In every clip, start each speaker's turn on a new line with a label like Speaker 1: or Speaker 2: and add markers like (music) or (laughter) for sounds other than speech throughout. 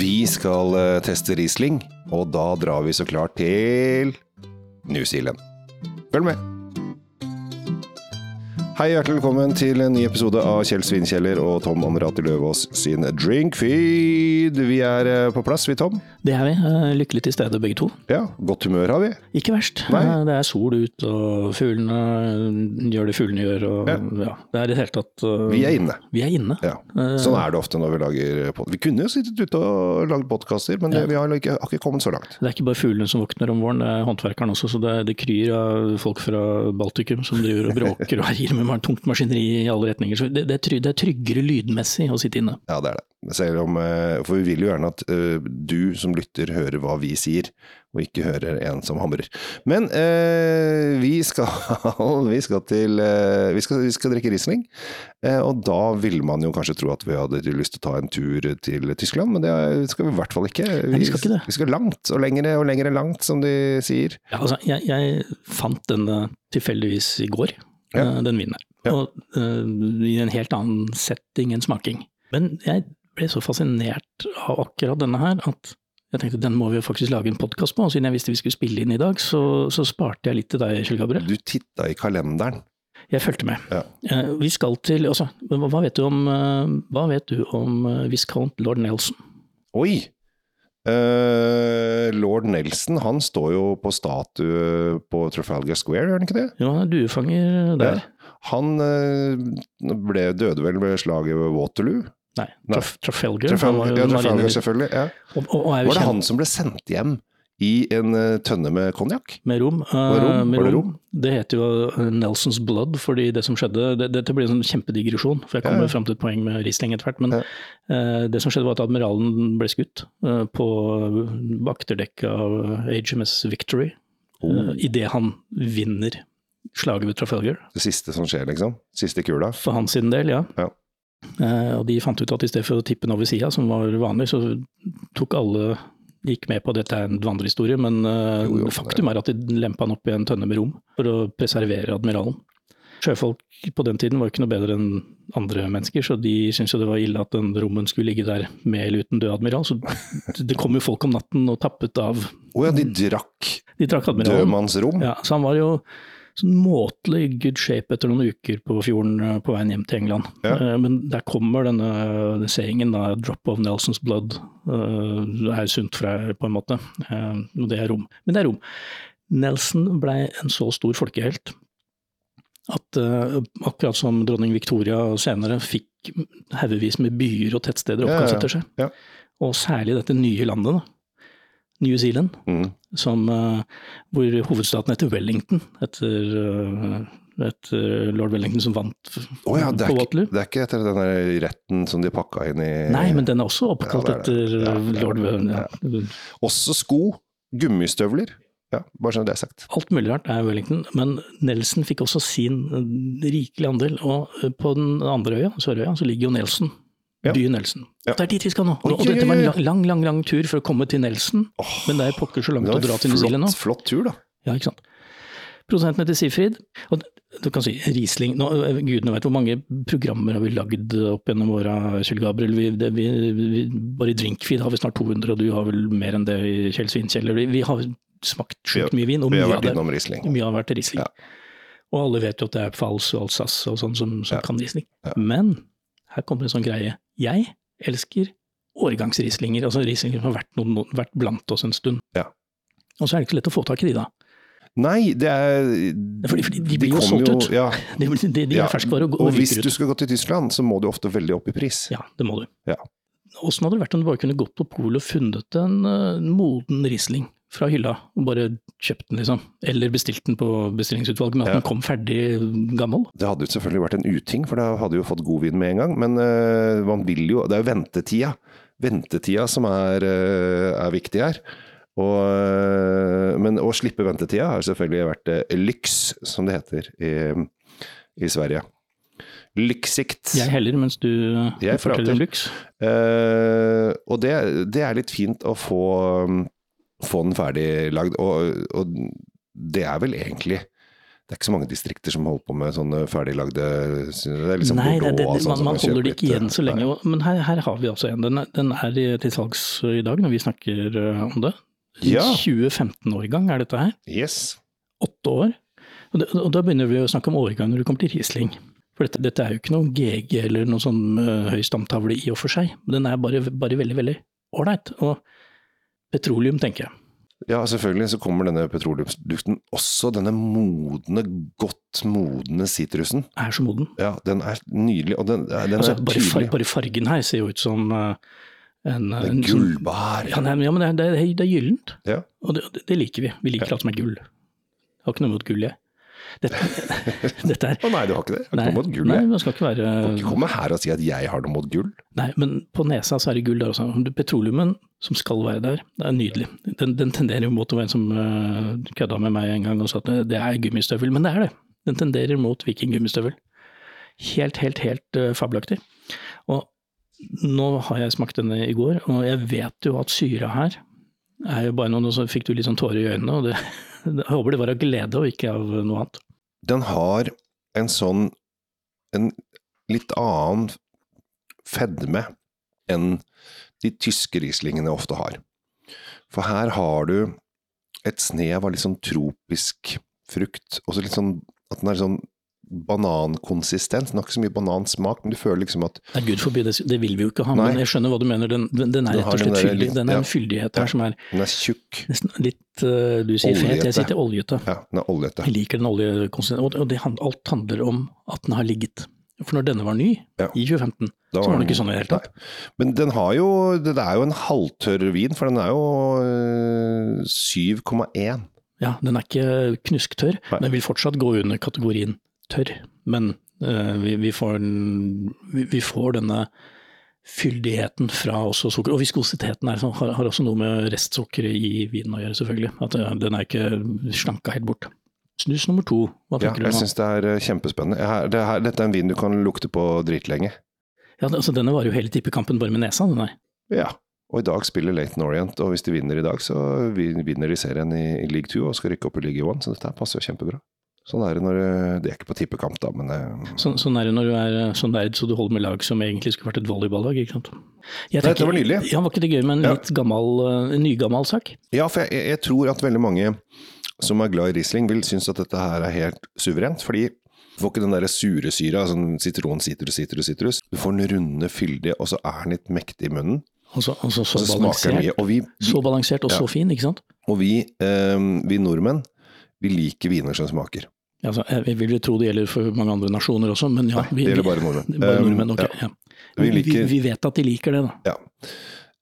Speaker 1: Vi skal eh, teste Riesling, og da drar vi så klart til New Zealand. Følg med! Hei, hjertelig velkommen til en ny episode av Kjell Svinkjeller og Tom Amrati Løvaas sin Drinkfeed. Vi er eh, på plass, vi, Tom.
Speaker 2: Det er vi. eh, Lykkelig til stede begge to.
Speaker 1: Ja, godt humør har vi.
Speaker 2: Ikke verst.
Speaker 1: Nei.
Speaker 2: Eh, Det er sol ut, og fuglene eh, gjør det fuglene gjør. Og, ja. Det er i det hele tatt eh,
Speaker 1: Vi er inne.
Speaker 2: vi er inne.
Speaker 1: Ja. Sånn er det ofte når vi lager podkast. Vi kunne jo sittet ute og lagd podkaster, men det, vi har ikke, har ikke kommet så langt.
Speaker 2: Det er ikke bare fuglene som våkner om våren, det er håndverkeren også. Så det, det kryr av folk fra Baltikum som driver og bråker og (laughs) herjer med ma- tungt maskineri i alle retninger. Så det, det, er try, det er tryggere lydmessig å sitte inne.
Speaker 1: Ja, det er det. Selv om, eh, for vi vil jo gjerne at eh, du som lytter hører hva vi sier, og ikke hører en som hamrer. Men eh, vi, skal, (laughs) vi, skal til, eh, vi, skal, vi skal drikke Riesling, eh, og da ville man jo kanskje tro at vi hadde lyst til å ta en tur til Tyskland, men det er- skal vi i hvert fall ikke.
Speaker 2: Nei, vi skal ikke det.
Speaker 1: Vi skal langt, og lengre og lengre langt, som de sier.
Speaker 2: Ja, altså, jeg, jeg fant denne tilfeldigvis i går,
Speaker 1: Ja.
Speaker 2: eh, den vinen her.
Speaker 1: Ja.
Speaker 2: Og, eh, I en helt annen setting enn smaking. Men jeg ble så fascinert av akkurat denne her at jeg tenkte den må vi jo faktisk lage en podkast på. Og siden jeg visste vi skulle spille inn i dag, så, så sparte jeg litt til deg, Kjell Gabriel.
Speaker 1: Du titta i kalenderen.
Speaker 2: Jeg fulgte med.
Speaker 1: Ja.
Speaker 2: Eh, Vi skal til altså, hva, hva vet du om, eh, hva vet du om eh, Viscount lord Nelson?
Speaker 1: Oi! Eh, Lord Nelson han står jo på statue på Trafalgar Square, gjør han ikke det?
Speaker 2: Jo, han er duefanger der.
Speaker 1: Han eh, ble, døde vel ved slaget ved Waterloo?
Speaker 2: Nei,
Speaker 1: Nei.
Speaker 2: Traf Trafalgar. han var
Speaker 1: Trafalgar,
Speaker 2: jo
Speaker 1: ja,
Speaker 2: marine-
Speaker 1: Trafalgar selvfølgelig. Ja.
Speaker 2: og, og, og er
Speaker 1: Var
Speaker 2: jo
Speaker 1: det
Speaker 2: kjent
Speaker 1: han som ble sendt hjem i en eh, tønne med konjakk?
Speaker 2: med rom. eh,
Speaker 1: rom?
Speaker 2: med
Speaker 1: Var det
Speaker 2: rom. Det heter jo eh, Nelsons blood, fordi det som skjedde det, Dette blir en sånn kjempedigresjon, for jeg
Speaker 1: Ja, ja.
Speaker 2: kommer fram til et poeng med Riesling etter hvert. Men
Speaker 1: Ja.
Speaker 2: eh, det som skjedde var at admiralen ble skutt eh, på bakterdekket av HMS Victory
Speaker 1: Oh.
Speaker 2: eh, idet han vinner slaget ved Trafalgar.
Speaker 1: Det siste som skjer, liksom? Siste kula?
Speaker 2: For hans sin del, ja.
Speaker 1: Ja.
Speaker 2: Eh, og de fant ut at i stedet for å tippe den over sida, som var vanlig, så tok alle gikk med på at dette er en vandrehistorie, men eh,
Speaker 1: Jo, jo,
Speaker 2: faktum er at de lempa han opp i en tønne med rom for å preservere admiralen. Sjøfolk på den tiden var jo ikke noe bedre enn andre mennesker, så de syntes jo det var ille at den rommen skulle ligge der med eller uten død admiral. Så det kom jo folk om natten og tappet av
Speaker 1: Å ja, de
Speaker 2: Mm.
Speaker 1: drakk
Speaker 2: De trakk admiralen.
Speaker 1: dødmannsrom?
Speaker 2: Ja, så han var jo sånn måtelig i good shape etter noen uker på fjorden eh, på veien hjem til England.
Speaker 1: Ja.
Speaker 2: Eh, Men der kommer denne eh, sayingen da, 'drop of Nelsons blood' eh, det er sunt for deg, på en måte. Eh, Og det er rom. Men det er rom. Nelson blei en så stor folkehelt at eh, akkurat som dronning Victoria senere fikk haugevis med byer og tettsteder
Speaker 1: Ja, ja,
Speaker 2: oppkalt
Speaker 1: ja.
Speaker 2: etter seg,
Speaker 1: Ja.
Speaker 2: og særlig dette nye landet, da. New Zealand
Speaker 1: Mm.
Speaker 2: som, eh, hvor hovedstaten heter Wellington, etter, eh, etter lord Wellington som vant
Speaker 1: Å ja, det
Speaker 2: på
Speaker 1: er,
Speaker 2: Waterloo.
Speaker 1: ikke, det er ikke etter den der retten som de pakka inn i
Speaker 2: Nei, men den er også oppkalt
Speaker 1: Ja, det er det.
Speaker 2: etter
Speaker 1: Ja,
Speaker 2: eh,
Speaker 1: det er
Speaker 2: lord
Speaker 1: det.
Speaker 2: Wellington. Ja.
Speaker 1: Også sko, gummistøvler. Ja, bare sånn det er sagt.
Speaker 2: Alt mulig rart er Wellington, men Nelson fikk også sin eh, rikelig andel. Og eh, på den andre øya, Sørøya, så ligger jo Nelson.
Speaker 1: Ja.
Speaker 2: Byen Nelson.
Speaker 1: Ja.
Speaker 2: Det er dit vi skal nå.
Speaker 1: Oi,
Speaker 2: Og, og
Speaker 1: oi,
Speaker 2: dette var
Speaker 1: oi,
Speaker 2: en lang, lang, lang, lang tur for å komme til Nelson,
Speaker 1: Åh,
Speaker 2: men det er pokker så langt
Speaker 1: det
Speaker 2: å
Speaker 1: var
Speaker 2: dra
Speaker 1: en
Speaker 2: til New Zealand nå.
Speaker 1: flott, flott tur, da.
Speaker 2: Ja, ikke sant. Produsenten heter Sifrid. Og du kan si Riesling nå, eh, Gudene vet hvor mange programmer har vi lagd opp gjennom åra, Kjell Gabriel. Vi, det, vi, vi, bare i drinkfeed har vi snart 200, og du har vel mer enn det i Kjell Svinkjeller. Vi, vi har smakt sjukt mye vin, og
Speaker 1: Vi
Speaker 2: mye
Speaker 1: har
Speaker 2: av
Speaker 1: vært
Speaker 2: det
Speaker 1: innom Riesling.
Speaker 2: mye har vært Riesling.
Speaker 1: Ja.
Speaker 2: Og alle vet jo at det er Pfalz og Alsace og sånn som, som
Speaker 1: Ja.
Speaker 2: kan Riesling.
Speaker 1: Ja.
Speaker 2: Men her kommer en sånn greie. Jeg elsker årgangsrislinger, altså rislinger som har vært, noen, vært blant oss en stund.
Speaker 1: Ja.
Speaker 2: Og så er det ikke så lett å få tak i de da.
Speaker 1: Nei, det er
Speaker 2: fordi- fordi de blir jo
Speaker 1: kommer
Speaker 2: solgt ut.
Speaker 1: Ja,
Speaker 2: (laughs) De, de, de
Speaker 1: Ja,
Speaker 2: er ferskvare og,
Speaker 1: og
Speaker 2: og
Speaker 1: hvis
Speaker 2: ryker
Speaker 1: du
Speaker 2: ut.
Speaker 1: skal gå til Tyskland, så må du ofte veldig opp i pris.
Speaker 2: Ja, det må du.
Speaker 1: Ja.
Speaker 2: Åssen hadde det vært om du bare kunne gått på polet og funnet en eh, moden Riesling fra hylla, og bare kjøpt den, liksom? Eller bestilt den på bestillingsutvalget, men at
Speaker 1: Ja.
Speaker 2: den kom ferdig gammel?
Speaker 1: Det hadde jo selvfølgelig vært en uting, for da hadde du jo fått god vin med en gang. Men eh, man vil jo Det er jo ventetida. Ventetida som er, eh, er viktig her. Og, eh, men å slippe ventetida har selvfølgelig vært eh, lyks, som det heter i, i Sverige. Lyksikt.
Speaker 2: Jeg heller, mens du eh,
Speaker 1: Jeg prater.
Speaker 2: forteller om lyks.
Speaker 1: Eh, og det, det er litt fint å få, um, få den ferdiglagd, og, og det er vel egentlig Det er ikke så mange distrikter som holder på med sånne ferdiglagde Det er liksom
Speaker 2: Nei, det,
Speaker 1: Bordeaux
Speaker 2: det,
Speaker 1: og alt
Speaker 2: det,
Speaker 1: sånt
Speaker 2: man,
Speaker 1: som
Speaker 2: man
Speaker 1: kan
Speaker 2: holder
Speaker 1: kjøpe
Speaker 2: det ikke
Speaker 1: litt,
Speaker 2: igjen så
Speaker 1: eh,
Speaker 2: lenge. og- Men her, her har vi altså en. Den er, den er i- til salgs i dag når vi snakker eh, om det.
Speaker 1: Ja.
Speaker 2: 2015-årgang er dette her.
Speaker 1: Nei. Yes.
Speaker 2: Åtte år. Og, det, og da begynner vi å snakke om årgang når det kommer til Riesling. For dette, dette er jo ikke noen GG eller noen sånn eh, høy stamtavle i og for seg. Men den er bare, bare veldig, veldig ålreit. Og petroleum, tenker jeg.
Speaker 1: Ja, selvfølgelig så kommer denne petroleumsdukten. Også denne modne, godt modne sitrusen.
Speaker 2: Er så moden.
Speaker 1: Ja, den er nydelig, og den, den
Speaker 2: Altså,
Speaker 1: er
Speaker 2: bare, far,
Speaker 1: tydelig.
Speaker 2: bare fargen her ser jo ut som eh, en,
Speaker 1: Det er
Speaker 2: en sånn-
Speaker 1: gullbar.
Speaker 2: Ja, nei, men- ja, men det er, det er, det er gyllent.
Speaker 1: Ja.
Speaker 2: Og det, det liker vi. Vi liker alt som er gull. Jeg har ikke noe imot gull, jeg.
Speaker 1: (laughs)
Speaker 2: Dette, dette er
Speaker 1: Å nei, du har ikke det? Jeg har ikke noe mot gull,
Speaker 2: nei,
Speaker 1: jeg.
Speaker 2: man skal ikke være
Speaker 1: Du kan ikke komme her og si at jeg har noe mot gull.
Speaker 2: Nei, men på nesa så er det gull der også. Men Petroleumen, som skal være der, det er nydelig. Den, den tenderer jo mot å være en som eh, kødda med meg en gang og sa at det er gummistøvel. Men det er det. Den tenderer mot vikinggummistøvel. Helt, helt, helt eh, fabelaktig. Og nå har jeg smakt denne i går, og jeg vet jo at syra her er jo bare noe og så fikk du litt sånn tårer i øynene, og det, (laughs) jeg håper det var av glede og ikke av noe annet.
Speaker 1: Den har en sånn en litt annen fedme enn de tyske rieslingene ofte har. For her har du et snev av litt sånn tropisk frukt, og så litt sånn at den er sånn banankonsistens. Den har ikke så mye banansmak, men du føler liksom at
Speaker 2: Nei, gud forby, det, det vil vi jo ikke ha,
Speaker 1: Nei.
Speaker 2: men jeg skjønner hva du mener. Den, den, den er
Speaker 1: Den
Speaker 2: rett
Speaker 1: har
Speaker 2: og
Speaker 1: den
Speaker 2: slett
Speaker 1: der
Speaker 2: fyldig.
Speaker 1: litt-
Speaker 2: Den er
Speaker 1: ja.
Speaker 2: en fyldighet
Speaker 1: Ja.
Speaker 2: her som er
Speaker 1: den er tjukk.
Speaker 2: Nesten litt eh, Du sier fet,
Speaker 1: Oljete.
Speaker 2: jeg sier til oljete.
Speaker 1: Ja, den er oljete.
Speaker 2: Jeg liker den oljekonsistensen. Og- Og det, hand- alt handler om at den har ligget. For når denne var ny,
Speaker 1: Ja.
Speaker 2: i 2015,
Speaker 1: Da
Speaker 2: så var den ikke sånn i det hele tatt.
Speaker 1: Men den har jo Det er jo en halvtørr vin, for den er jo øh, 7,1.
Speaker 2: Ja, den er ikke knusktørr,
Speaker 1: Nei.
Speaker 2: men vil fortsatt gå under kategorien tørr. Men eh, vi, vi, får, den- vi, vi får denne fyldigheten fra også sukker. Og viskositeten er, sånn- har, har også noe med restsukkeret i vinen å gjøre, selvfølgelig. At eh, den er ikke slanka helt bort. Snus nummer to, hva
Speaker 1: Ja,
Speaker 2: tenker
Speaker 1: jeg
Speaker 2: du nå?
Speaker 1: syns det er øh, kjempespennende. Her, det her, dette er en vin du kan lukte på dritlenge.
Speaker 2: Ja, altså, denne varer jo hele tippekampen bare med nesa, den her.
Speaker 1: Ja. Og i dag spiller Laton Orient, og hvis de vinner i dag, så vin- vinner de serien i, i league two og skal rykke opp i league one, så dette her passer jo kjempebra. Sånn er det når øh, Det er ikke på tippekamp, da, men øh,
Speaker 2: Sånn, sånn er det når du er eh, så nerd så du holder med lag som egentlig skulle vært et volleyballag, ikke sant. Jeg
Speaker 1: Dette var nydelig.
Speaker 2: Ja, var ikke det gøy med en
Speaker 1: Ja.
Speaker 2: litt gammal, eh, nygammal sak?
Speaker 1: Ja, for jeg, jeg tror at veldig mange som er glad i Riesling, vil synes at dette her er helt suverent. Fordi du får ikke den der sure syra, sånn sitron, sitrus, sitrus, sitrus. Du får den runde, fyldige, og så er den litt mektig i munnen.
Speaker 2: Og så, og Altså, så,
Speaker 1: Og så Altså,
Speaker 2: så,
Speaker 1: smaker den
Speaker 2: Sånn balansert.
Speaker 1: mye. Og vi, vi,
Speaker 2: Så balansert og
Speaker 1: Ja.
Speaker 2: så fin, ikke sant?
Speaker 1: og vi, ehm, vi nordmenn, vi liker viner som smaker.
Speaker 2: Ja, Altså, jeg- jeg vil jo tro det gjelder for mange andre nasjoner også, men ja.
Speaker 1: Nei, det gjelder bare nordmenn.
Speaker 2: bare
Speaker 1: Ehm,
Speaker 2: nordmenn, ok.
Speaker 1: ja.
Speaker 2: Ja.
Speaker 1: Vi
Speaker 2: Vi,
Speaker 1: liker-
Speaker 2: vi vet at de liker det, da.
Speaker 1: Ja.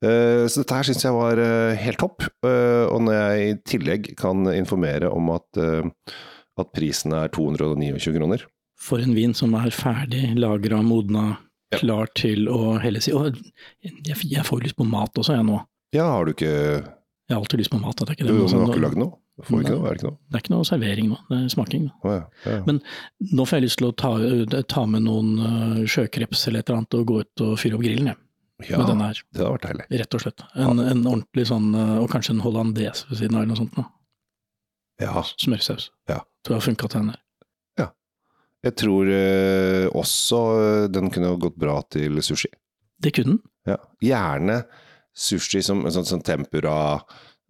Speaker 1: Eh, Så dette her syns jeg var eh, helt topp. Eh, Og når jeg i tillegg kan informere om at, eh, at prisen er 229 kroner
Speaker 2: For en vin som er ferdig lagra, modna,
Speaker 1: Ja.
Speaker 2: klar til å helles i. Og jeg, jeg får jo lyst på mat også, jeg nå.
Speaker 1: Ja, har du ikke
Speaker 2: Jeg har alltid lyst på mat. at Det er
Speaker 1: Du,
Speaker 2: ikke, det, men
Speaker 1: men du har
Speaker 2: sånn,
Speaker 1: ikke lagd noe? Får vi ikke
Speaker 2: Nei.
Speaker 1: noe? Er det ikke noe?
Speaker 2: det er ikke noe servering nå, det er smaking. Da.
Speaker 1: Å, ja. Ja, ja.
Speaker 2: Men- Nå får jeg lyst til å ta, ta med noen eh, sjøkreps eller et eller annet og gå ut og fyre opp grillen, jeg.
Speaker 1: ja,
Speaker 2: Med denne her,
Speaker 1: det hadde vært deilig.
Speaker 2: rett og slett. En, en ordentlig sånn, eh, og kanskje en hollandes ved siden av eller noe sånt. Da.
Speaker 1: Ja.
Speaker 2: Smørsaus.
Speaker 1: Ja.
Speaker 2: Tror jeg har funka til den der.
Speaker 1: Jeg tror eh, også eh, den kunne gått bra til sushi.
Speaker 2: Det kunne den.
Speaker 1: Ja. Gjerne sushi som en sånn, sånn tempura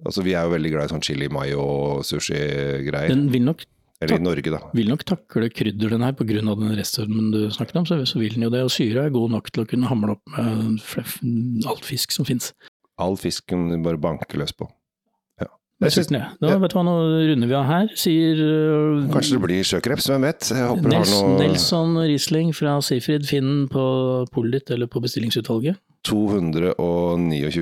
Speaker 1: Altså, vi er jo veldig glad i sånn chili mayo-sushi-greier.
Speaker 2: Den vil nok,
Speaker 1: Eller i Norge, da.
Speaker 2: vil nok takle krydder, den her, pga. den restformen du snakket om. Så, så vil den jo det. Og syra er god nok til å kunne hamle opp med fleff, alt fisk som fins.
Speaker 1: All fisk kan du bare banke løs på. Ja.
Speaker 2: Jeg
Speaker 1: Jeg
Speaker 2: er
Speaker 1: synes,
Speaker 2: sulten, jeg. Nå,
Speaker 1: ja.
Speaker 2: vet du hva, nå runder vi av her. Sier eh,
Speaker 1: kanskje det blir sjøkreps, hvem vet? Jeg håper du har
Speaker 2: Nels,
Speaker 1: noe
Speaker 2: Nelson Riesling fra Seafrid, finn den på polet ditt eller på bestillingsutvalget.
Speaker 1: 229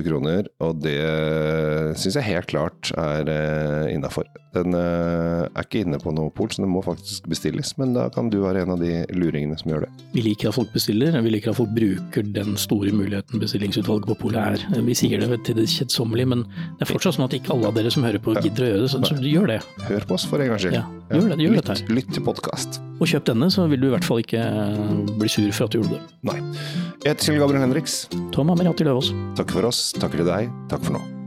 Speaker 1: kroner, og det syns jeg helt klart er uh, innafor. Den eh, er ikke inne på noe pol, så den må faktisk bestilles, men da kan du være en av de luringene som gjør det.
Speaker 2: Vi liker at folk bestiller, vi liker at folk bruker den store muligheten bestillingsutvalget på polet er. Vi sier det til det kjedsommelige, men det er fortsatt sånn at ikke alle av dere som hører på gidder å gjøre det, så, så gjør det.
Speaker 1: Hør på oss for en gangs skyld.
Speaker 2: Ja, gjør det, gjør
Speaker 1: lytt,
Speaker 2: dette her.
Speaker 1: lytt til podkast.
Speaker 2: Og kjøp denne, så vil du i hvert fall ikke eh, bli sur for at du gjorde det.
Speaker 1: Nei. Jeg heter Kjell Gabriel Henriks.
Speaker 2: Tom Amiriati Løvaas.
Speaker 1: Takk for oss, takker til deg, takk for nå.